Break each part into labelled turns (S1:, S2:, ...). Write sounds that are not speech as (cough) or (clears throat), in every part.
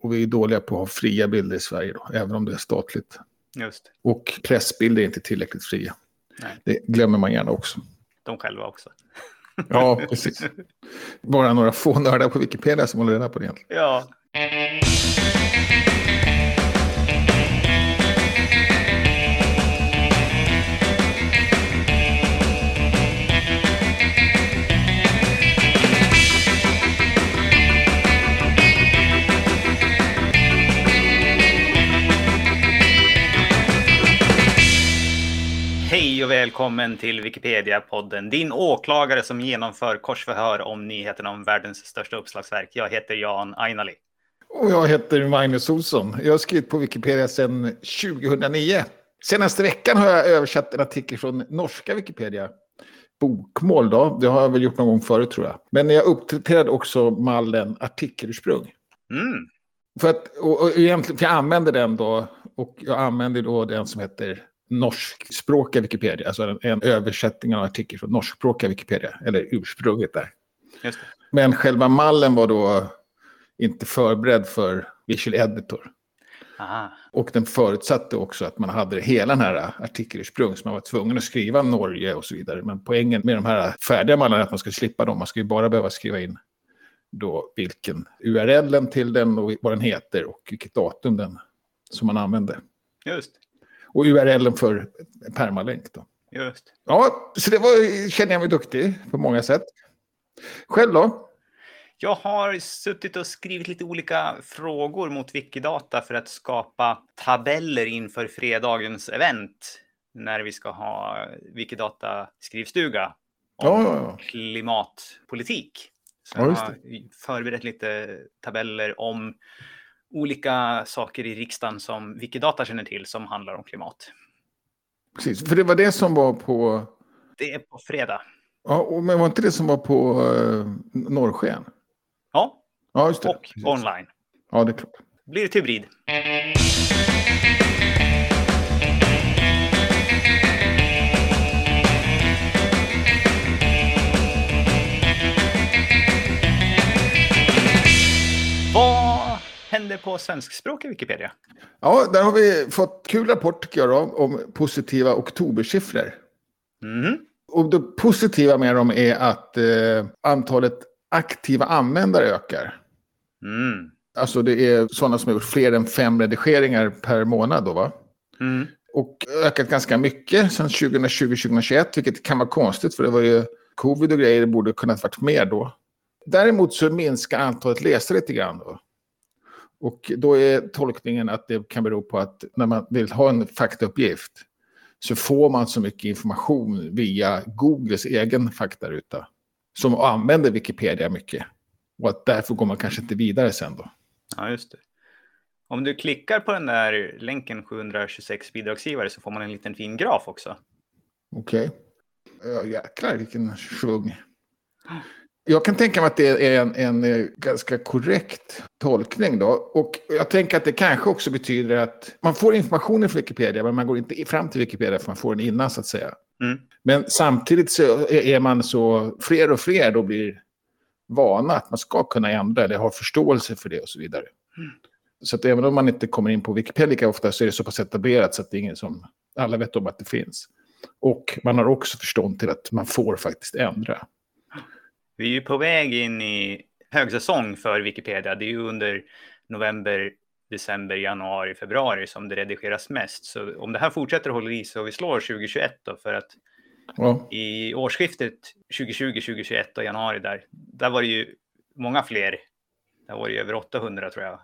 S1: Och vi är dåliga på att ha fria bilder i Sverige, då, även om det är statligt.
S2: Just det.
S1: Och pressbilder är inte tillräckligt fria.
S2: Nej.
S1: Det glömmer man gärna också.
S2: De själva också.
S1: Ja, precis. Bara några få nördar på Wikipedia som håller reda på det egentligen.
S2: Ja, Hej och välkommen till Wikipedia-podden, din åklagare som genomför korsförhör om nyheterna om världens största uppslagsverk. Jag heter Jan Ainali.
S1: Och jag heter Magnus Olsson. Jag har skrivit på Wikipedia sedan 2009. Senaste veckan har jag översatt en artikel från norska Wikipedia. Bokmål då, det har jag väl gjort någon gång förut tror jag. Men jag uppdaterade också mallen artikelursprung.
S2: Mm,
S1: För att, och, och egentligen, för jag använde den då, och jag använde då den som heter norskspråkiga Wikipedia, alltså en, en översättning av en artikel från norskspråkiga Wikipedia, eller ursprunget där.
S2: just det.
S1: Men själva mallen var då inte förberedd för visual editor.
S2: Aha.
S1: Och den förutsatte också att man hade hela den här artikelursprung, så man var tvungen att skriva Norge och så vidare. Men poängen med de här färdiga mallarna är att man skulle slippa dem. Man skulle ju bara behöva skriva in då vilken URL till den och vad den heter och vilket datum den som man använde.
S2: Just,
S1: Och URL för permalänk då.
S2: just.
S1: Ja, så det var, känner jag mig duktig på många sätt. Själv då?
S2: Jag har suttit och skrivit lite olika frågor mot Wikidata för att skapa tabeller inför fredagens event när vi ska ha Wikidata-skrivstuga om
S1: Ja, ja, ja.
S2: klimatpolitik. Så
S1: Ja,
S2: jag
S1: just
S2: har förberett lite tabeller om olika saker i riksdagen som Wikidata känner till som handlar om klimat.
S1: Precis, för det var det som var på...
S2: Det är på fredag.
S1: Ja, och- men var inte det som var på eh, Norrsken?
S2: Ja,
S1: Ja, just det.
S2: och
S1: Precis.
S2: online.
S1: Ja, det är klart.
S2: Blir det typ hybrid? Vad händer på svenskspråkiga Wikipedia?
S1: Ja, där har vi fått kul rapport tycker jag då, om positiva oktobersiffror.
S2: Mhm.
S1: Och det positiva med dem är att eh, antalet aktiva användare ökar.
S2: Mm.
S1: Alltså det är sådana som har gjort fler än fem redigeringar per månad då va?
S2: Mm.
S1: Och ökat ganska mycket sedan 2020-2021, vilket kan vara konstigt för det var ju covid och grejer, det borde kunnat varit mer då. Däremot så minskar antalet läsare lite grann då. Och då är tolkningen att det kan bero på att när man vill ha en faktauppgift så får man så mycket information via Googles egen faktaruta som använder Wikipedia mycket. Och att därför går man kanske inte vidare sen då.
S2: Ja, just det. Om du klickar på den där länken 726 bidragsgivare så får man en liten fin graf också.
S1: Okej. Ja, jäklar vilken svung. Jag kan tänka mig att det är en, en eh, ganska korrekt tolkning då. Och jag tänker att det kanske också betyder att man får informationen från Wikipedia, men man går inte fram till Wikipedia för man får den innan så att säga.
S2: Mm.
S1: Men samtidigt så är- är man så, fler och fler då blir vana att man ska kunna ändra eller har förståelse för det och så vidare. Så att även om man inte kommer in på Wikipedia lika ofta så är det så pass etablerat så att det är ingen som, alla vet om att det finns. Och man har också förstånd till att man får faktiskt ändra.
S2: Vi är ju på väg in i högsäsong för Wikipedia. Det är ju under november, december, januari, februari som det redigeras mest. Så om det här fortsätter och håller i sig och vi slår 2021 då, för att
S1: Ja,
S2: i årsskiftet 2020-2021 och januari där, där var det ju många fler. Där var det ju över 800 tror jag.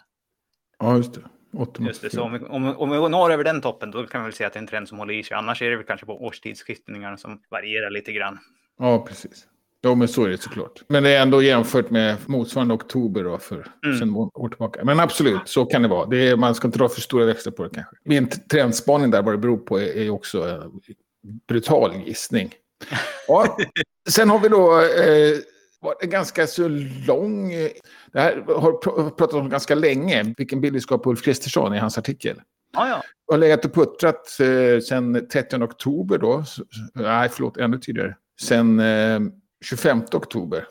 S1: ja just det. 800.
S2: Just det, så om, vi- om, om vi når över den toppen då kan vi väl säga att det är en trend som håller i sig. Annars är det väl kanske på årstidsskiftningarna som varierar lite grann.
S1: Ja, precis. Ja, men så är det såklart. Men det är ändå jämfört med motsvarande oktober då för
S2: Mm.
S1: sen må- år tillbaka. Men absolut, så kan det vara. Det är, man ska inte dra för stora växlar på det kanske. Min t- trendspaning där, vad det beror på, är, är också eh, brutal gissning. Ja. Sen har vi då eh, varit en ganska så lång... eh, Det här har pr- pratat om ganska länge, vilken bild vi ska ha på Ulf Kristersson i hans artikel
S2: (laughs) Ja, ja.
S1: har legat och puttrat eh, sen 30 oktober då. S- s- Nej, förlåt, ännu tidigare. Sen eh, 25 oktober.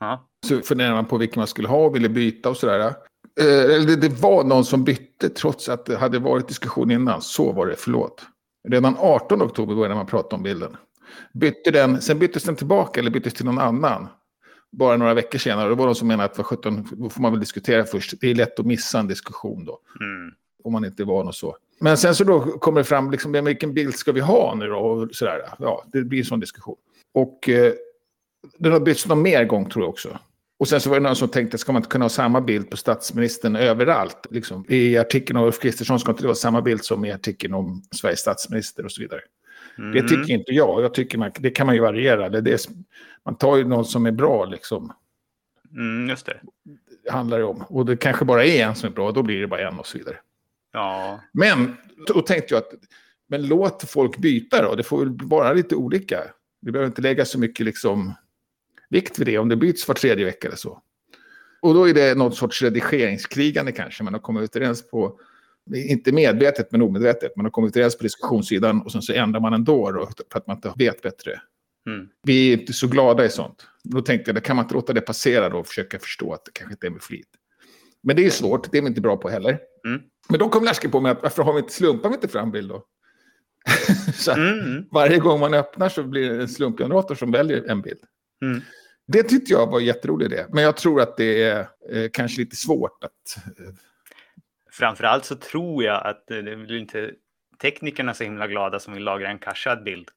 S2: ja.
S1: Så funderade man på vilken man skulle ha och ville byta och sådär. eh, eller det- det var någon som bytte trots att det hade varit diskussion innan. Så var det, förlåt. Redan 18 oktober började man prata om bilden. Bytte den, sen byttes den tillbaka eller byttes till någon annan. Bara några veckor senare. Det var de som menade att vad 17, då får man väl diskutera först. Det är lätt att missa en diskussion då
S2: Mm.
S1: om man inte är van och så. Men sen så då kommer det fram, liksom, men vilken bild ska vi ha nu då? Och sådär. Ja, det blir en sån diskussion. Och eh, den har bytts någon mer gång tror jag också. Och sen så var det någon som tänkte, ska man inte kunna ha samma bild på statsministern överallt? Liksom, I artikeln om Ulf Kristersson ska inte det vara samma bild som i artikeln om Sveriges statsminister och så vidare. Det
S2: Mhm.
S1: tycker inte jag. Jag tycker man, det kan man ju variera. Det, är det, som- man tar ju någon som är bra liksom.
S2: Mm, just det.
S1: Det handlar det om. Och det kanske bara är en som är bra, då blir det bara en och så vidare.
S2: Ja.
S1: Men då tänkte jag att men låt folk byta då. Det får väl vara lite olika. Vi behöver inte lägga så mycket liksom, vikt vid det om det byts var tredje vecka eller så. Och då är det någon sorts redigeringskrigande kanske. Man har kommit överens på, inte medvetet men omedvetet, man har kommit överens på diskussionssidan och sen så ändrar man ändå då, för att man inte vet bättre.
S2: Mm.
S1: Vi är inte så glada i sånt. Då tänkte jag, kan man inte låta det passera då och försöka förstå att det kanske inte är med flit. Men det är svårt, det är vi inte bra på heller.
S2: Mm.
S1: Men då kom Lärske på mig att varför har vi inte, slumpar vi inte fram bild då? (laughs) så att
S2: Mm. Mm.
S1: varje gång man öppnar så blir det en slumpgenerator som väljer en bild.
S2: Mm.
S1: Det tyckte jag var en jätterolig idé. Men jag tror att det är eh, kanske lite svårt att... Eh,
S2: Framförallt så tror jag att eh, det blir inte teknikerna så himla glada som vill lagra en cachad bild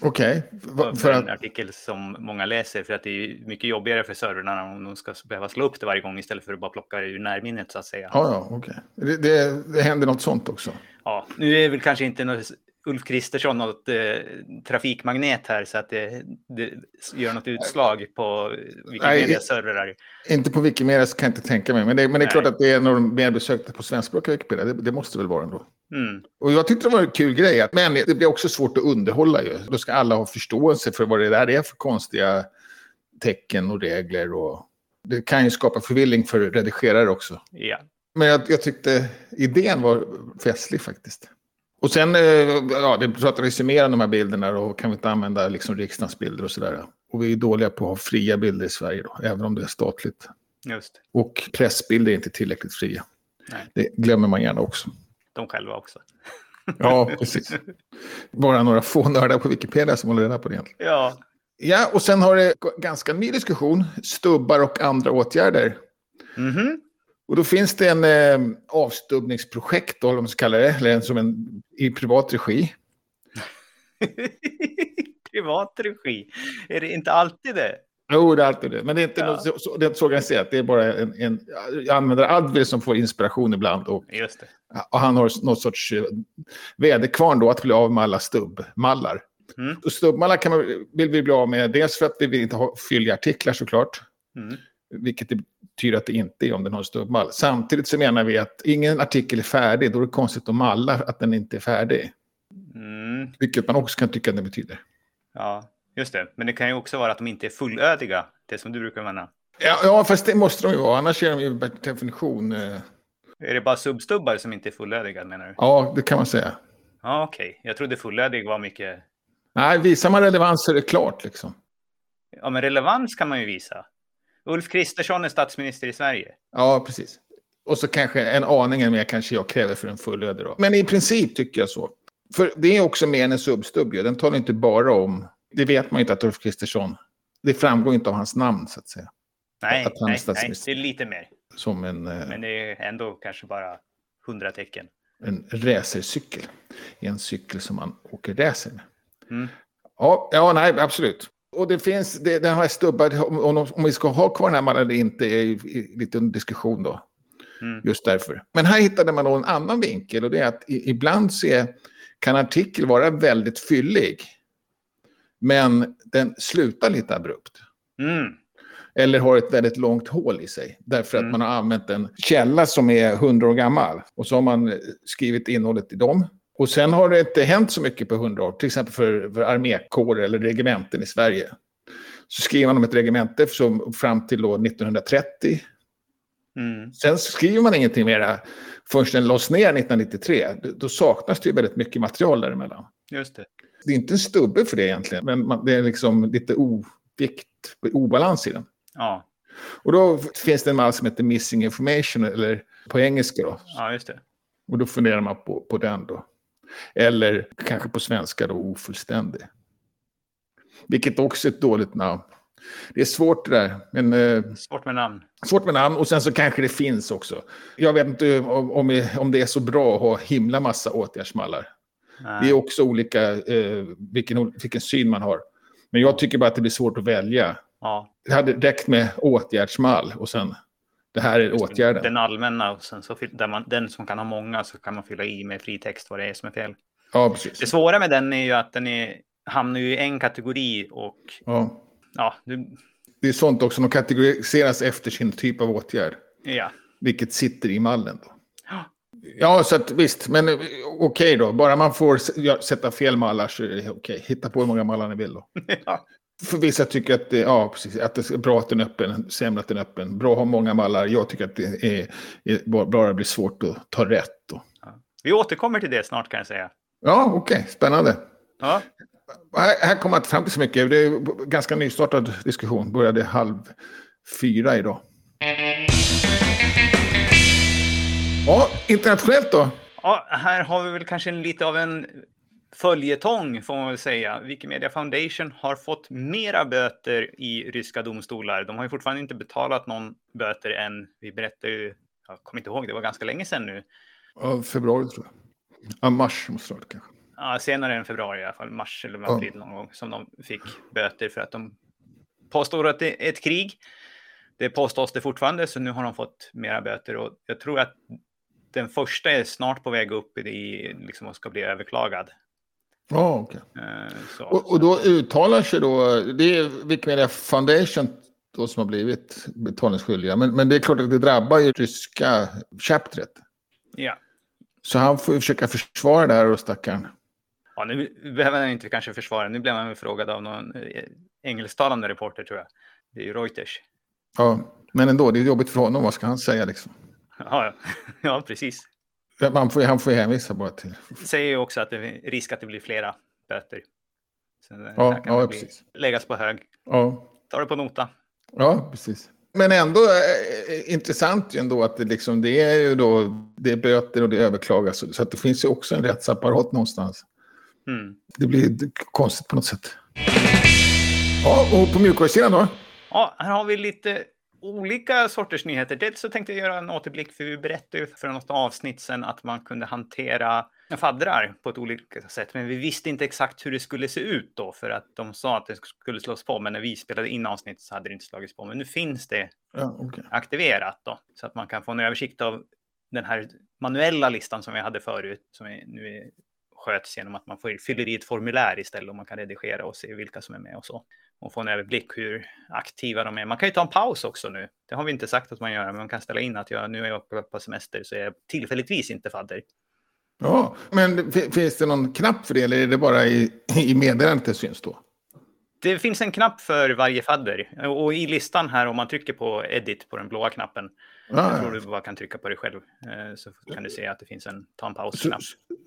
S1: Okej, va-
S2: för,
S1: för att...
S2: en artikel som många läser för att det är ju mycket jobbigare för servrarna om de ska behöva slå upp det varje gång istället för att bara plocka det ur närminnet så att säga.
S1: Ja, ja, okej. Det, det, det händer något sånt också.
S2: Ja, nu är väl kanske inte något Ulf Kristersson något eh, trafikmagnet här så att det, det gör något utslag på vilka
S1: Nej.
S2: mediaservrar.
S1: Inte på Wikimedia så kan jag inte tänka mig. Men det, men det är
S2: Nej.
S1: klart att det är en av de mer besökta på svenskspråkiga Wikipedia. Det, det måste väl vara ändå.
S2: Mm,
S1: Och jag tyckte det var en kul grej, att- men det blir också svårt att underhålla ju. Då ska alla ha förståelse för vad det där är för konstiga tecken och regler. Och det kan ju skapa förvilling för redigerare också.
S2: ja.
S1: Men jag, jag tyckte idén var festlig faktiskt. Och sen, eh, ja, det pratades ju mer om de här bilderna och kan vi inte använda liksom riksdagens bilder och sådär. Och vi är dåliga på att ha fria bilder i Sverige då, även om det är statligt.
S2: Just
S1: Och pressbilder är inte tillräckligt fria.
S2: Nej.
S1: Det glömmer man gärna också.
S2: de själva också.
S1: Ja, precis. Bara några få nördar på Wikipedia som håller reda på det egentligen.
S2: Ja,
S1: Ja, och sen har det g- ganska ny diskussion, stubbar och andra åtgärder.
S2: mhm, (laughs)
S1: Och då finns det en eh, avstubbningsprojekt, då, eller vad man ska kalla det, eller en, som en, i privat regi.
S2: privat regi. Är det inte alltid det?
S1: Jo, det är alltid det. Men det är inte
S2: Ja.
S1: något, så, så, det är inte så organiserat. Det är bara en, en jag använder Advil som får inspiration ibland. Och,
S2: Just det.
S1: och han har någon sorts eh, väderkvarn då, att bli av med alla stubbmallar.
S2: Mm.
S1: Och stubbmallar kan man, vill vi bli av med, dels för att vi vill inte ha fylliga artiklar såklart.
S2: Mm.
S1: vilket det betyder att det inte är om den har en stubbmall. Samtidigt så menar vi att ingen artikel är färdig, då är det konstigt om alla att den inte är färdig.
S2: Mm.
S1: Vilket man också kan tycka att det betyder.
S2: Ja, just det. Men det kan ju också vara att de inte är fullödiga, det som du brukar mena.
S1: Ja, ja fast det måste de ju vara, annars är de ju per definition... eh,
S2: Är det bara substubbar som inte är fullödiga menar du?
S1: Ja, det kan man säga.
S2: Ja, okej. Jag trodde fullödig var mycket...
S1: Nej, visar man relevans så är det klart liksom.
S2: Ja, men relevans kan man ju visa. Ulf Kristersson är statsminister i Sverige.
S1: Ja, precis. Och så kanske en aning mer kanske jag kräver för en fullödig då. Men i princip tycker jag så. För det är också mer än en substubb ju. Den talar inte bara om... Det vet man ju inte att Ulf Kristersson... Det framgår inte av hans namn så att säga.
S2: Nej,
S1: Att han är
S2: nej, nej,
S1: statsminister.
S2: det är lite mer.
S1: Som en... eh,
S2: Men det är ändå kanske bara hundra tecken.
S1: en racercykel. En cykel som man åker racer med.
S2: Mm.
S1: Ja, ja, nej, absolut. Och det finns, det, den här stubbar, om, om, om vi ska ha kvar den här mannen eller inte är ju i- lite under diskussion då.
S2: Mm.
S1: Just därför. Men här hittade man då en annan vinkel och det är att i, ibland så är, kan en artikel vara väldigt fyllig. Men den slutar lite abrupt.
S2: Mm.
S1: Eller har ett väldigt långt hål i sig. Därför att
S2: Mm.
S1: man har använt en källa som är hundra år gammal. Och så har man eh, skrivit innehållet i dem. Och sen har det inte hänt så mycket på hundra år. Till exempel för, för armékårer eller regementen i Sverige. Så skriver man om ett regemente som, fram till då 1930.
S2: Mm.
S1: Sen skriver man ingenting mera förrän den lades ner 1993. Då- Då saknas det ju väldigt mycket material däremellan.
S2: Just det.
S1: Det är inte en stubbe för det egentligen. Men man, det är liksom lite ovikt, obalans i den.
S2: Ja.
S1: Och då finns det en mall som heter Missing Information, eller på engelska då.
S2: Ja, just det.
S1: Och då funderar man på, på den då. Eller kanske på svenska då, ofullständig. Vilket också är ett dåligt namn. Det är svårt det där, men eh,
S2: Svårt med namn.
S1: svårt med namn och sen så kanske det finns också. Jag vet inte om, om, om det är så bra att ha himla massa åtgärdsmallar. Det är
S2: Nej.
S1: också olika eh, vilken, vilken syn man har. Men jag tycker bara att det blir svårt att välja.
S2: Ja,
S1: Det hade räckt med åtgärdsmall och sen det här är åtgärden.
S2: den allmänna och sen så fyll- där man, den som kan ha många så kan man fylla i med fri text vad det är som är fel.
S1: Ja,
S2: Det
S1: precis.
S2: svåra med den är ju att den är, hamnar ju i en kategori och
S1: Ja.
S2: ja, du,
S1: Det är sånt också, de kategoriseras efter sin typ av åtgärd.
S2: ja. (laughs)
S1: Vilket sitter i mallen då.
S2: Ja.
S1: Ja, så att visst, men eh, okej då. Bara man får s- ja, sätta fel mallar så är det okej. Hitta på hur många mallar ni vill då.
S2: ja.
S1: För vissa tycker att det, ja, precis, att det är bra att den är öppen, sämre att den är öppen. Bra att ha många mallar. Jag tycker att det är, är bara- bara blir svårt att ta rätt. Då.
S2: Vi återkommer till det snart kan jag säga.
S1: Ja, okej, spännande.
S2: Ja,
S1: Här, här kommer jag inte fram till så mycket. Det är en ganska nystartad diskussion. Började halv fyra idag. Ja, internationellt då?
S2: ja här har vi väl kanske en, lite av en följetong får man väl säga. Wikimedia Foundation har fått mera böter i ryska domstolar. De har ju fortfarande inte betalat någon böter än. Vi berättade ju, jag kommer inte ihåg, det var ganska länge sedan nu.
S1: Ja, februari tror jag. Ja, mars måste det vara kanske.
S2: Ja, senare än februari i alla fall, mars eller
S1: Ja.
S2: april någon gång, som de fick böter för att de påstår att det är ett krig. Det påstås det fortfarande, så nu har de fått mera böter och jag tror att den första är snart på väg upp i, liksom, och ska bli överklagad.
S1: Ja, okej.
S2: Eh, Så.
S1: Och, och då uttalar sig då, det är Wikimedia Foundation då som har blivit betalningsskyldiga. Men, men det är klart att det drabbar ju ryska chaptret.
S2: ja.
S1: Så han får ju försöka försvara det här och stackaren.
S2: ja, nu behöver han inte kanske försvara, nu blev han väl frågad av någon eh, engelsktalande reporter tror jag. Det är ju Reuters. (laughs)
S1: Ja, men ändå, det är jobbigt för honom. Vad ska han säga liksom?
S2: Ja, ja. ja precis.
S1: Man får, han får ju hänvisa bara till.
S2: säger ju också att det är risk att det blir flera böter. Så det
S1: Ja,
S2: här kan
S1: ja,
S2: väl bli-
S1: precis.
S2: läggas på hög.
S1: Ja,
S2: Ta det på nota.
S1: ja precis. Men ändå eh, eh, intressant ju ändå att det, liksom, det är ju då det är böter och det överklagas. Så att det finns ju också en rättsapparat någonstans.
S2: Mm.
S1: Det blir konstigt på något sätt. Ja, och på mjukvarusidan då?
S2: Ja, här har vi lite olika sorters nyheter. Dels så tänkte jag göra en återblick för vi berättade ju för något avsnitt sedan att man kunde hantera faddrar på ett olika sätt. Men vi visste inte exakt hur det skulle se ut då för att de sa att det skulle slås på. Men när vi spelade in avsnitt så hade det inte slagits på. Men nu finns det
S1: Ja, okej.
S2: aktiverat då, så att man kan få en översikt av den här manuella listan som vi hade förut, som är, nu är, sköts genom att man får, fyller i ett formulär istället och man kan redigera och se vilka som är med och så. Och få en överblick hur aktiva de är. Man kan ju ta en paus också nu. Det har vi inte sagt att man gör, men man kan ställa in att jag, nu är jag på- på semester så är jag tillfälligtvis inte fadder.
S1: ja, men fi- finns det någon knapp för det eller är det bara i, i meddelandet det syns då?
S2: Det finns en knapp för varje fadder och i listan här om man trycker på edit på den blåa knappen, jag tror
S1: Ah, Ja,
S2: du bara kan trycka på dig själv, eh, så kan du se att det finns en ta en
S1: så,
S2: paus-knapp.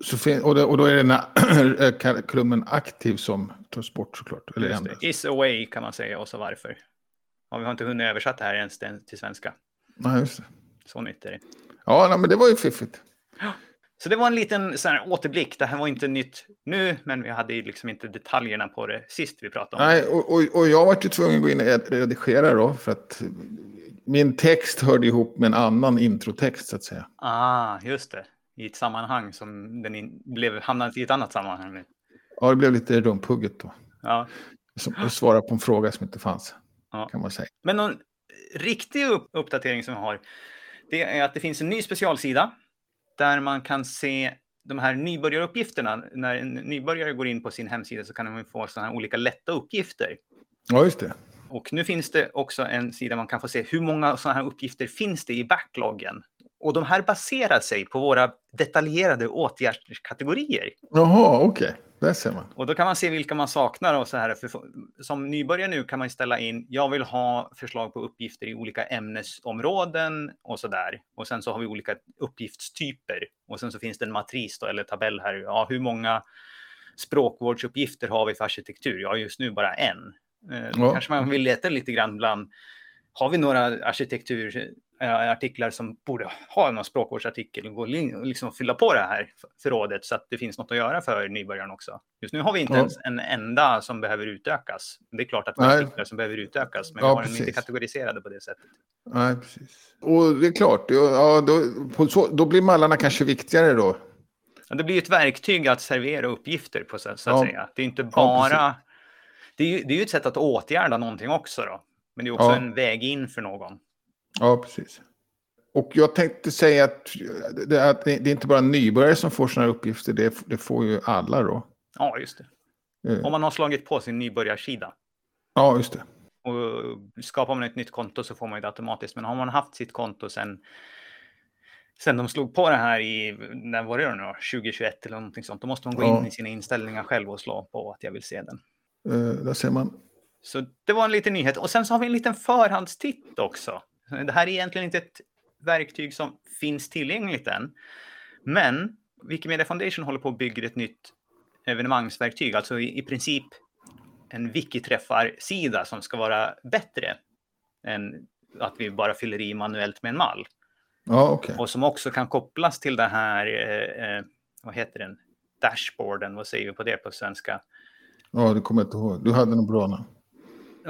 S1: så fin- och, det, och då är den här (clears throat) eh, kolumnen aktiv som tas bort såklart. Eller
S2: Just
S1: ändras.
S2: det. Is away kan man säga och så varför. Ja, vi har inte hunnit översätta det här ens till- till svenska.
S1: Nej, just det.
S2: Så nytt är det.
S1: Ja, nej, men det var ju fiffigt.
S2: Så det var en liten så här, återblick. Det här var inte nytt nu, men vi hade ju liksom inte detaljerna på det sist vi pratade om.
S1: Nej, och, och, och jag var ju tvungen att gå in och ed- redigera då för att min text hörde ihop med en annan introtext så att säga.
S2: Ah, just det. I ett sammanhang som den in, blev hamnat i ett annat sammanhang nu.
S1: Ja, det blev lite rumphugget då.
S2: Ja.
S1: Som att svara på en fråga som inte fanns.
S2: Ja.
S1: Kan man säga.
S2: Men någon riktig upp- uppdatering som vi har, det är att det finns en ny specialsida där man kan se de här nybörjaruppgifterna. När en nybörjare går in på sin hemsida så kan man ju få sådana här olika lätta uppgifter.
S1: Ja, just det.
S2: Och nu finns det också en sida man kan få se hur många sådana här uppgifter finns det i backloggen. Och de här baserar sig på våra detaljerade åtgärdskategorier.
S1: Jaha, okej. Där ser man.
S2: Och då kan man se vilka man saknar och så här. För som nybörjare nu kan man ju ställa in, jag vill ha förslag på uppgifter i olika ämnesområden och så där. Och sen så har vi olika uppgiftstyper. Och sen så finns det en matris då, eller tabell här. Ja, hur många språkvårdsuppgifter har vi för arkitektur? Ja, just nu bara en. Eh, Då
S1: Ja.
S2: kanske man vill leta lite grann bland Har vi några arkitekturartiklar eh, som borde ha någon språkvårdsartikel och gå in och liksom fylla på det här förrådet så att det finns något att göra för nybörjaren också? Just nu har vi inte
S1: Ja.
S2: ens en enda som behöver utökas. Det är klart att vi har
S1: Nej.
S2: artiklar som behöver utökas, men
S1: Ja,
S2: vi har dem
S1: precis.
S2: inte kategoriserade på det sättet.
S1: Nej, precis. Och det är klart, ja, då, på så, då blir mallarna kanske viktigare då.
S2: Ja, Det blir ju ett verktyg att servera uppgifter på så, så att
S1: Ja.
S2: säga. Det är inte
S1: Ja, precis.
S2: bara... det, är ju, det är ju ett sätt att åtgärda någonting också då. Men det är också
S1: Ja.
S2: en väg in för någon.
S1: Ja, precis. Och jag tänkte säga att det, att det det är inte bara nybörjare som får sådana här uppgifter, det, det får ju alla då.
S2: Ja, just det.
S1: Eh,
S2: Om man har slagit på sin nybörjarsida
S1: Ja, just det.
S2: och skapar man ett nytt konto så får man ju det automatiskt. Men har man haft sitt konto sen, sen de slog på det här i, när var det då nu då? 2021 eller någonting sånt, då måste man gå
S1: Ja.
S2: in i sina inställningar själv och slå på att jag vill se den.
S1: Eh, Där ser man.
S2: Så det var en liten nyhet. Och sen så har vi en liten förhandstitt också. Det här är egentligen inte ett verktyg som finns tillgängligt än. Men Wikimedia Foundation håller på att bygga ett nytt evenemangsverktyg, alltså i, i princip en wiki-träffar-sida som ska vara bättre än att vi bara fyller i manuellt med en mall.
S1: Ja, okej.
S2: Och som också kan kopplas till det här, eh, eh, vad heter den, dashboarden, vad säger vi på det på svenska?
S1: Ja, det kommer jag inte ihåg. Du hade något bra namn.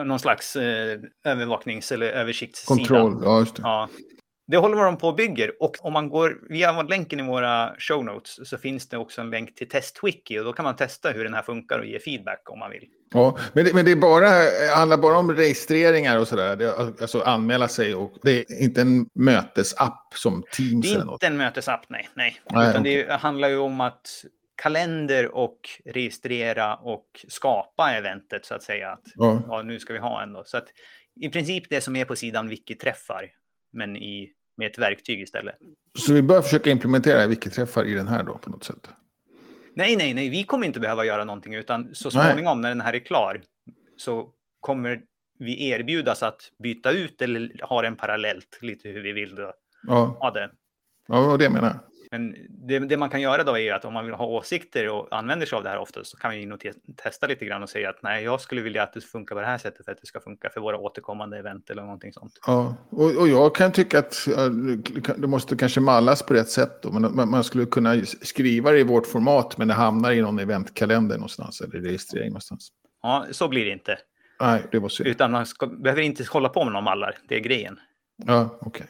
S2: Någon slags eh, övervaknings eller översiktssida.
S1: Kontroll, ja just det.
S2: Ja. Det håller de på och bygger. Och om man går via länken i våra show notes så finns det också en länk till TestWiki och då kan man testa hur den här funkar och ge feedback om man vill.
S1: Ja, men det, men det är bara, det handlar bara om registreringar och sådär. Det- Alltså anmäla sig och det är inte en mötesapp som Teams
S2: Det är
S1: eller något.
S2: inte en mötesapp, nej. nej.
S1: Nej,
S2: Utan det handlar ju om att kalender och registrera och skapa eventet så att säga. Att,
S1: Ja,
S2: ja, nu ska vi ha en då. Så att i princip det som är på sidan Wiki träffar, men i, med ett verktyg istället.
S1: så vi bör försöka implementera vilka träffar i den här då på något sätt.
S2: Nej, nej, nej, vi kommer inte behöva göra någonting, utan så
S1: Nej.
S2: småningom när den här är klar så kommer vi erbjudas att byta ut eller ha den parallellt, lite hur vi vill då,
S1: Ja,
S2: ha det.
S1: ja det var det jag menar.
S2: Men det, det man kan göra då är ju att om man vill ha åsikter och använder sig av det här ofta så kan vi nog te- testa lite grann och säga att nej, jag skulle vilja att det funkar på det här sättet för att det ska funka för våra återkommande event eller någonting sånt.
S1: Ja, och, och jag kan tycka att ja, det måste kanske mallas på rätt sätt. Då. Man, man- man skulle kunna skriva det i vårt format, men det hamnar i någon eventkalender någonstans, eller registrering någonstans.
S2: Ja, så blir det inte,
S1: Nej, det var synd.
S2: utan man ska, behöver inte hålla på med någon mallar, det är grejen.
S1: Ja, okej.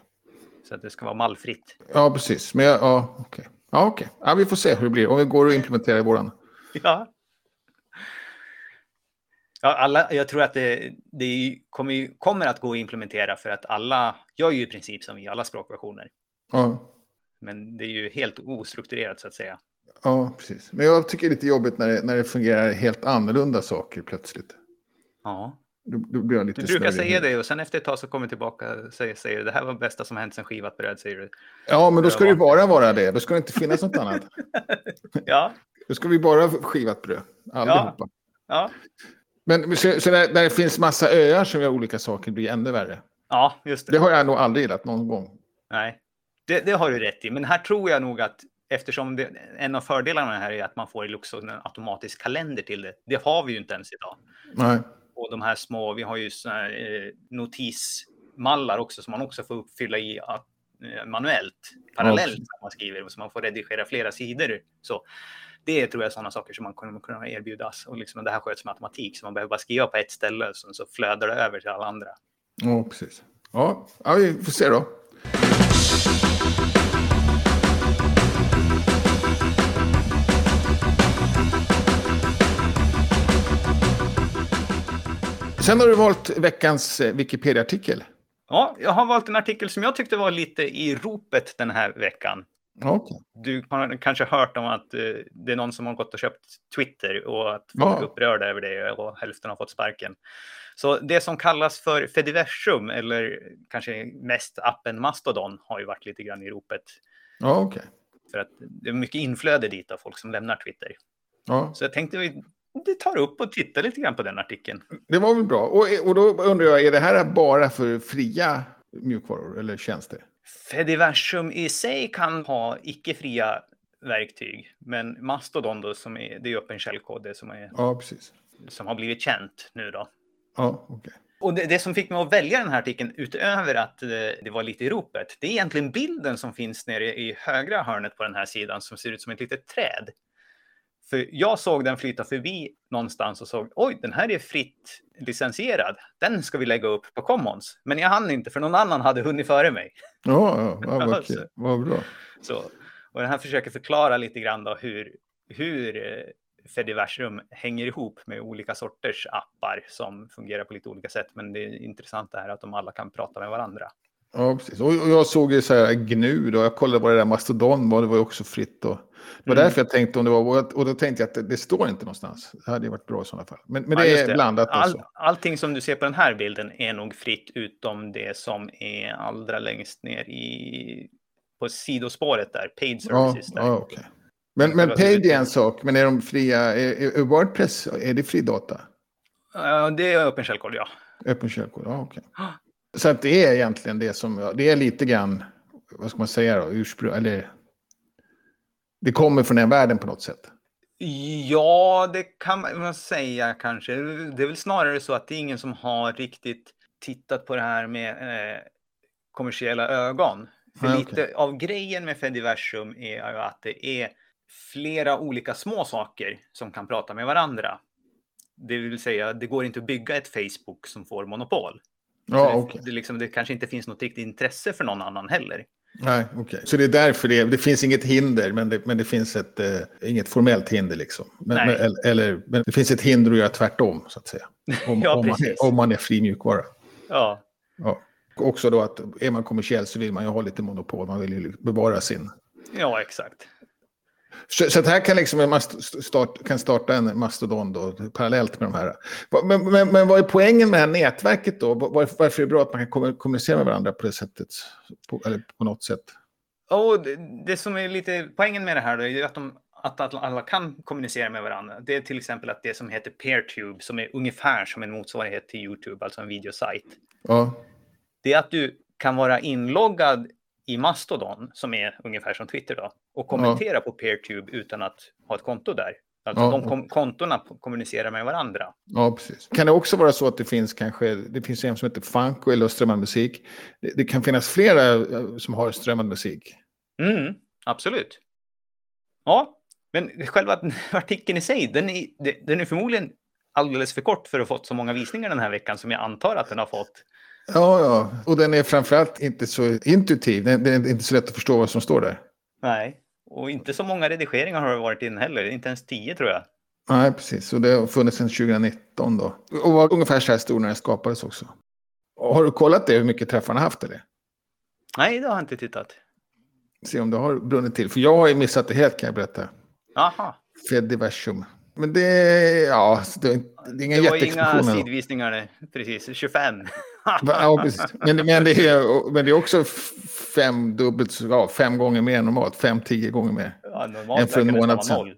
S2: Så att det ska vara mallfritt.
S1: Ja, precis. Men jag, ja, okej. Ja, okej. Ja, vi får se hur det blir. Om vi går och implementerar i våran.
S2: (laughs) Ja. Ja, alla, jag tror att det, det är ju- kommer, ju- kommer att gå att implementera för att alla gör ju i princip som vi, alla språkversioner.
S1: Ja,
S2: Men det är ju helt ostrukturerat så att säga.
S1: ja, precis. Men jag tycker det är lite jobbigt när det, när det fungerar helt annorlunda saker plötsligt.
S2: Ja,
S1: Då, då blir jag lite
S2: du brukar
S1: snurrig.
S2: säga det och sen efter ett tag så kommer du tillbaka och säger, säger det här var det bästa som hänt sedan skivat bröd, säger du.
S1: Ja, men då ska det ju bara vara det. Då ska det inte finnas något annat.
S2: Ja,
S1: Då ska vi bara ha skivat bröd, allihopa.
S2: ja,
S1: Men så, så där, där det finns massa öar som gör olika saker blir ännu värre.
S2: ja, just
S1: Det
S2: det.
S1: har jag nog aldrig gillat någon gång.
S2: Nej, det, det har du rätt i. Men här tror jag nog att eftersom det, en av fördelarna här är att man får också en automatisk kalender till det. Det har vi ju inte ens idag.
S1: Nej.
S2: och de här små, vi har ju såna här eh, notismallar också som man också får uppfylla i att, eh, manuellt, parallellt
S1: precis.
S2: när man skriver, så man får redigera flera sidor. Så det är, tror jag är sådana saker som man kommer kunna erbjudas. Och liksom, det här sköts med automatik, så man behöver bara skriva på ett ställe, och sen så flödar det över till alla andra.
S1: Ja, precis. Ja, ja, vi får se då. Sen har du valt veckans eh, Wikipedia-artikel.
S2: Ja, jag har valt en artikel som jag tyckte var lite i ropet den här veckan.
S1: Ja, okej.
S2: Du har kanske hört om att eh, det är någon som har gått och köpt Twitter och att
S1: Ja.
S2: folk är upprörda över det och hälften har fått sparken. Så det som kallas för Fediversum eller kanske mest appen Mastodon har ju varit lite grann i ropet
S1: Ja, okej.
S2: för att det är mycket inflöde dit av folk som lämnar Twitter.
S1: Ja,
S2: Så jag tänkte vi vi tar upp och tittar lite grann på den artikeln.
S1: det var väl bra. Och, och då undrar jag, är det här bara för fria mjukvaror eller tjänster?
S2: Fediversum i sig kan ha icke-fria verktyg, men Mastodon då, som är, det är ju öppen källkod, det som, är,
S1: Ja, precis.
S2: som har blivit känt nu då.
S1: Ja, okej.
S2: Och det, det som fick mig att välja den här artikeln, utöver att eh, det var lite i ropet, det är egentligen bilden som finns nere i högra hörnet på den här sidan som ser ut som ett litet träd. För jag såg den flyta förbi någonstans och såg, oj, den här är fritt licensierad. Den ska vi lägga upp på Commons. Men jag hann inte, för någon annan hade hunnit före mig.
S1: Ja, ja, ja vad, kul. vad bra.
S2: Så, och den här försöker förklara lite grann då hur, hur eh, Fediversum hänger ihop med olika sorters appar som fungerar på lite olika sätt. Men det intressanta är att de alla kan prata med varandra.
S1: Ja, precis. Och och jag såg ju så här GNU då, jag kollade vad det där Mastodon var, det var ju också fritt då. Det var
S2: Mm.
S1: därför jag tänkte om det var, och jag- och då tänkte jag att det, det står inte någonstans. Det hade ju varit bra i sådana fall. Men, men
S2: Ja,
S1: det
S2: just
S1: är blandat
S2: All,
S1: också.
S2: allting som du ser på den här bilden är nog fritt utom det som är allra längst ner i på sidospåret där, paid
S1: Ja,
S2: services. där.
S1: ja, okej. Men, men
S2: Själva
S1: Page är
S2: huvudtiteln.
S1: en sak, men är de fria, är, är Wordpress, är det fri data?
S2: Ja, det är öppen källkod, ja.
S1: Öppen källkod, ja okej.
S2: Ja.
S1: Så att det är egentligen det som, jag- det är lite grann, vad ska man säga då, ursprung, eller det kommer från den världen på något sätt.
S2: Ja, det kan man säga kanske. Det är väl snarare så att det är ingen som har riktigt tittat på det här med eh, kommersiella ögon. För
S1: Nej,
S2: lite av grejen med Fediversum är ju att det är flera olika små saker som kan prata med varandra. Det vill säga, det går inte att bygga ett Facebook som får monopol.
S1: Ja,
S2: Så
S1: okej.
S2: det, det, liksom, det kanske inte finns något riktigt intresse för någon annan heller.
S1: Nej, okej. Så det är därför det, är- det finns inget hinder, men det, men det finns ett, eh, inget formellt hinder liksom. Men,
S2: Nej.
S1: men, eller- eller, men det finns ett hinder att göra tvärtom, så att
S2: (laughs)
S1: säga. Om,
S2: Ja,
S1: om, man,
S2: precis.
S1: är- om man är fri mjukvara.
S2: Ja,
S1: Ja. Och Också då att är man kommersiell så vill man ju ha lite monopol, man vill ju liksom bevara sin.
S2: ja exakt.
S1: Så, så att här kan liksom en mast- start, kan starta en mastodon då, parallellt med de här. Va- Men, men, men vad är poängen med det här nätverket då? Var- Varför, varför är det bra att man kan kommu- kommunicera med varandra på det sättet? På, eller på något sätt?
S2: Och det, det som är lite poängen med det här då är ju att, de, att, att alla kan kommunicera med varandra. Det är till exempel att det som heter PeerTube som är ungefär som en motsvarighet till YouTube, alltså en videosajt.
S1: Ja,
S2: Det är att du kan vara inloggad i Mastodon som är ungefär som Twitter då och kommentera på PeerTube utan att ha ett konto där. Alltså
S1: Ja,
S2: de kom, kontona kommunicerar med varandra.
S1: ja, precis. Kan det också vara så att det finns kanske, det finns en som heter Funko eller strömmande musik. Det, det kan finnas flera eh, som har strömmande musik.
S2: Mm, absolut. Ja, men själva (laughs) artikeln i sig, den är, den är förmodligen alldeles för kort för att ha fått så många visningar den här veckan som jag antar att den har fått.
S1: Ja, ja. Och den är framförallt inte så intuitiv. Den, den är inte så lätt att förstå vad som står där.
S2: Nej. Och inte så många redigeringar har det varit in heller, inte ens tio tror jag.
S1: Nej, precis. Och det har funnits sedan 2019 då. Och var ungefär så här stor när den skapades också. Och Har du kollat det, hur mycket träffar den har haft eller?
S2: Nej, det har jag inte tittat.
S1: Se om det har brunnit till. För jag har ju missat det helt kan jag berätta.
S2: Aha.
S1: Fediversum. Men det, ja, så det, är inte- det är ingen
S2: Det var inga
S1: jätteexplosion. ändå.
S2: sidvisningar, nu, precis. 25.
S1: Va- Ja, precis. Men, men, det, är, men det är också f- fem, dubbelt, så- ja, fem gånger mer än normalt. Fem, tio gånger mer.
S2: (laughs) Ja,
S1: En
S2: normalt
S1: för en
S2: verkar det
S1: månad
S2: vara
S1: sedan.
S2: noll.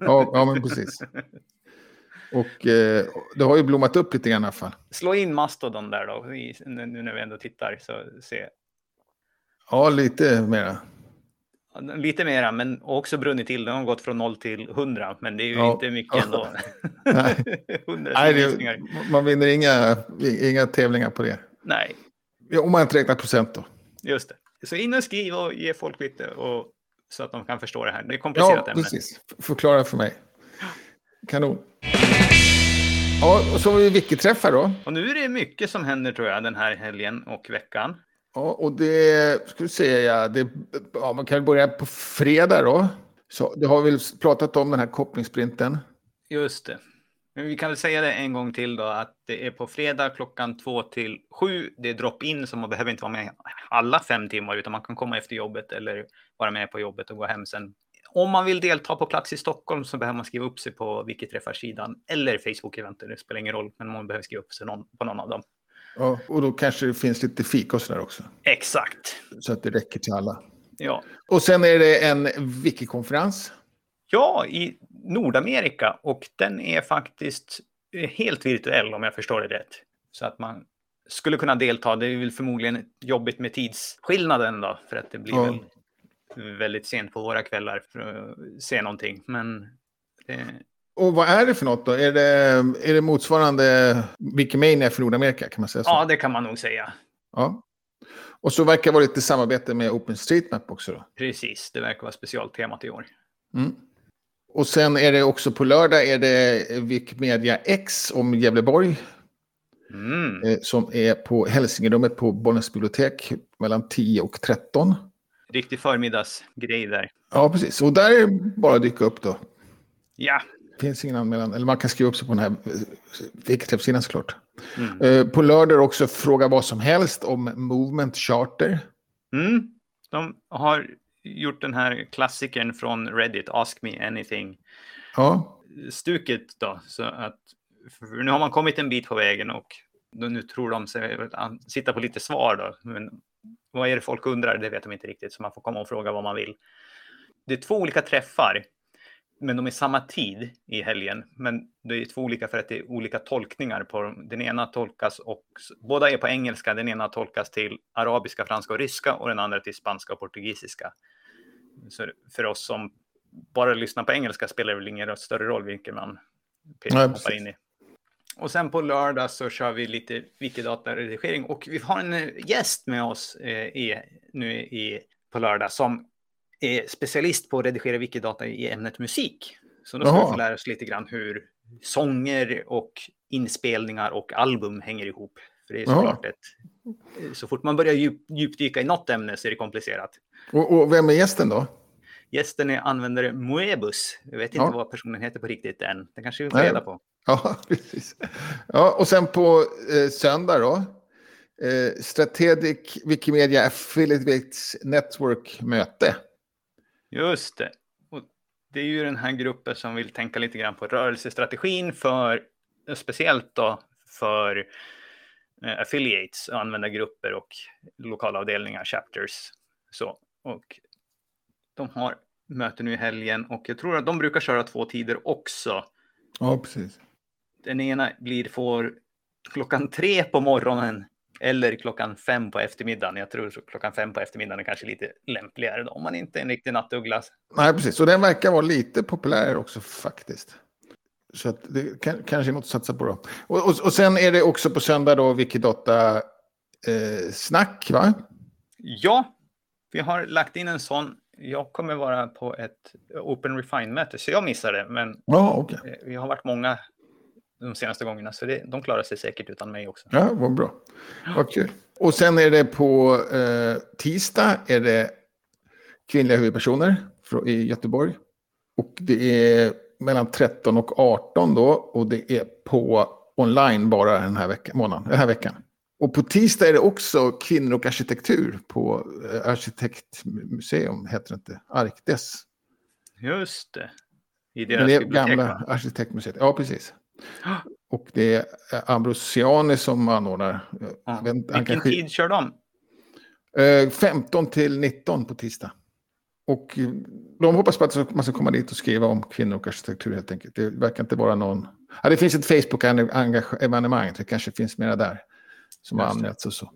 S1: Ja, ja men precis. Och eh, det har ju blommat upp lite grann i alla fall.
S2: (laughs) Slå in Mastodon där då, i, nu nu när vi ändå tittar. Så se.
S1: Ja, lite mera.
S2: Ja, Lite mera, men också brunnit till. Den har gått från 0 till 100, men det är ju
S1: Ja.
S2: inte mycket ändå.
S1: (laughs)
S2: (laughs)
S1: Nej.
S2: 100
S1: Nej,
S2: visningar.
S1: det, man vinner inga, inga tävlingar på det.
S2: Nej,
S1: Ja, om man inte räknar procent då.
S2: just det. Så in och skriv och ge folk lite och, så att de kan förstå det här. Det är komplicerat
S1: Ja,
S2: ämne.
S1: precis. F- Förklara för mig. Kanon. Ja, och så har vi Wiki-träffar då.
S2: Och nu är det mycket som händer tror jag den här helgen och veckan.
S1: Ja, och det skulle säga, det, ja, man kan väl börja på fredag då. Så det har vi väl pratat om den här kopplingssprinten.
S2: Just det. Men vi kan väl säga det en gång till då att det är på fredag klockan 2 till 7. Det är drop-in så man behöver inte vara med alla fem timmar utan man kan komma efter jobbet eller vara med på jobbet och gå hem sen. Om man vill delta på plats i Stockholm så behöver man skriva upp sig på vilket träffar-sidan eller Facebook-eventet. Det spelar ingen roll, men man behöver skriva upp sig någon, på någon av dem.
S1: Ja, och då kanske det finns lite fika och sådär också.
S2: Exakt.
S1: Så att det räcker till alla.
S2: Ja.
S1: Och sen är det en Wiki-konferens.
S2: Ja, i Nordamerika och den är faktiskt eh, helt virtuell om jag förstår det rätt. Så att man skulle kunna delta. Det är väl förmodligen jobbigt med tidsskillnaden då för att det blir
S1: Ja.
S2: väl väldigt sent på våra kvällar för att se någonting. Men det,
S1: Och vad är det för något då? Är det, är det motsvarande Wikimania för Nordamerika? Kan man säga så?
S2: Ja, det kan man nog säga.
S1: Ja. Och så verkar det vara lite samarbete med OpenStreetMap också då.
S2: Precis, det verkar vara specialtemat i år.
S1: Mm. Och sen är det också på lördag är det Wikimedia X om Gävleborg
S2: Mm.
S1: eh, som är på Hälsingerummet på Bollnäs bibliotek mellan 10 och 13.
S2: Riktig förmiddagsgrej där.
S1: Ja, precis. Och där är det bara att dyka upp då.
S2: Ja,
S1: finns ingen anmälan. Eller man kan skriva upp sig på den här eh, Wikiträff-sidan såklart.
S2: Mm.
S1: Eh, På lördag också fråga vad som helst om Movement Charter.
S2: Mm. De har gjort den här klassikern från Reddit, Ask Me Anything-stuket
S1: Ja,
S2: då. Så att, för nu har man kommit en bit på vägen och då, nu tror de sig väl an- sitta på lite svar då. Men vad är det folk undrar? Det vet de inte riktigt, så man får komma och fråga vad man vill. Det är två olika träffar, men de är samma tid i helgen. Men det är två olika för att det är olika tolkningar på dem. Den ena tolkas och båda är på engelska. Den ena tolkas till arabiska, franska och ryska och den andra till spanska och portugisiska. Så för oss som bara lyssnar på engelska spelar det väl ingen större roll vilken man
S1: Nej,
S2: hoppar
S1: precis.
S2: in i. Och sen på lördag så kör vi lite Wikidata-redigering och vi har en eh, gäst med oss eh, i, nu i, på lördag som är specialist på att redigera Wikidata i ämnet musik. Så då ska
S1: Jaha.
S2: vi få lära oss lite grann hur sånger och inspelningar och album hänger ihop. För det är
S1: Jaha.
S2: såklart ett... eh, Så fort man börjar djup, djupdyka i något ämne så är det komplicerat.
S1: och, och vem är gästen då? (laughs)
S2: Gästen är användare Moebus. Jag vet inte
S1: Ja.
S2: vad personen heter på riktigt än. Det kanske vi får
S1: Nej.
S2: reda på.
S1: Ja, precis. Ja, och sen på eh, söndag då. Eh, Strategic Wikimedia Affiliates Network-möte.
S2: Just det. Och det är ju den här gruppen som vill tänka lite grann på rörelsestrategin för speciellt då för eh, affiliates, användargrupper och lokalavdelningar, chapters. Så, och de har möte nu i helgen och jag tror att de brukar köra två tider också.
S1: Ja, precis.
S2: Den ena blir får klockan tre på morgonen eller klockan fem på eftermiddagen. Jag tror så klockan fem på eftermiddagen är kanske lite lämpligare då, om man inte är en riktig nattuggla.
S1: Nej, precis. Och den verkar vara lite populär också faktiskt. Så att det kan, kanske är något att satsa på då. Och, och, och sen är det också på söndag då Wikidata eh, snack, va?
S2: Ja, vi har lagt in en sån. Jag kommer vara på ett Open Refine-möte, så jag missar det. Men
S1: Ja, okej.
S2: eh, vi har varit många de senaste gångerna, så det, de klarar sig säkert utan mig också.
S1: Ja, vad bra. Vad kul. Och sen är det på eh, tisdag är det kvinnliga huvudpersoner frå- i Göteborg. Och det är mellan 13 och 18 då. Och det är på online bara den här veckan, månaden, den här veckan. Och på tisdag är det också kvinnor och arkitektur på eh, arkitektmuseum, heter det inte, Arkdes.
S2: Just det. I
S1: Men
S2: deras
S1: det är
S2: bibliotek.
S1: gamla
S2: va? Ah.
S1: arkitektmuseet. Ja, precis.
S2: Ja.
S1: Och det är eh, Ambrosiani som anordnar. eh,
S2: Ja.
S1: jag vet inte, han
S2: Vilken
S1: kanske-
S2: tid kör de?
S1: Eh, 15 till 19 på tisdag. Och eh, de hoppas på att man ska komma dit och skriva om kvinnor och arkitektur helt enkelt. Det verkar inte vara någon... Ja, det finns ett Facebook-evenemang, det kanske finns mera där. Som har
S2: Just det.
S1: anmälts och så.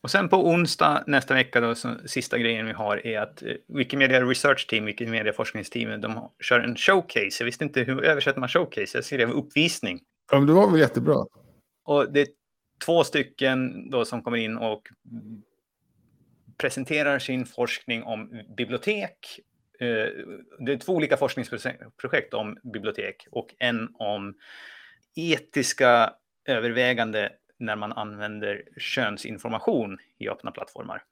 S2: Och sen på onsdag nästa vecka, då, så, sista grejen vi har är att eh, Wikimedia Research Team, Wikimedia forskningsteamet, de har- kör en showcase. Jag visste inte hur översätter man showcase, jag skrev uppvisning.
S1: Ja, men det var väl jättebra.
S2: Och det är två stycken då som kommer in och presenterar sin forskning om bibliotek. Eh, Det är två olika forskningsprojekt om bibliotek och en om etiska övervägande när man använder könsinformation i öppna plattformar.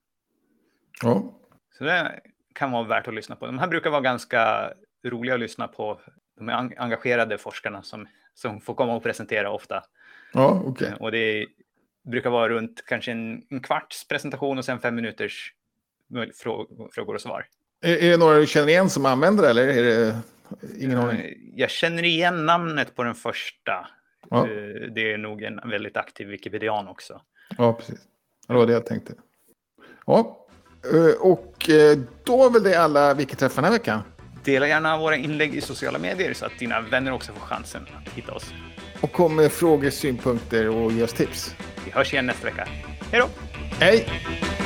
S1: Ja.
S2: Så det kan vara värt att lyssna på. De här brukar vara ganska roliga att lyssna på. De är en- engagerade forskarna som, som får komma och presentera ofta.
S1: Ja, okej.
S2: Och det brukar vara runt kanske en, en kvarts presentation och sen fem minuters möj- frå- frågor och svar.
S1: Är, är det några du känner igen som använder det, eller? Är det... Ingen aning.
S2: Jag känner igen namnet på den första.
S1: Ja,
S2: Eh, Det är nog en väldigt aktiv wikipedian också.
S1: ja, precis. Ja, Det var det jag tänkte. Ja. Eh, Och eh, då var väl det alla vilka träffar den här veckan.
S2: Dela gärna våra inlägg i sociala medier så att dina vänner också får chansen att hitta oss.
S1: Och kom med frågor, synpunkter och ge oss tips.
S2: Vi hörs igen nästa vecka. Hej då!
S1: Hej!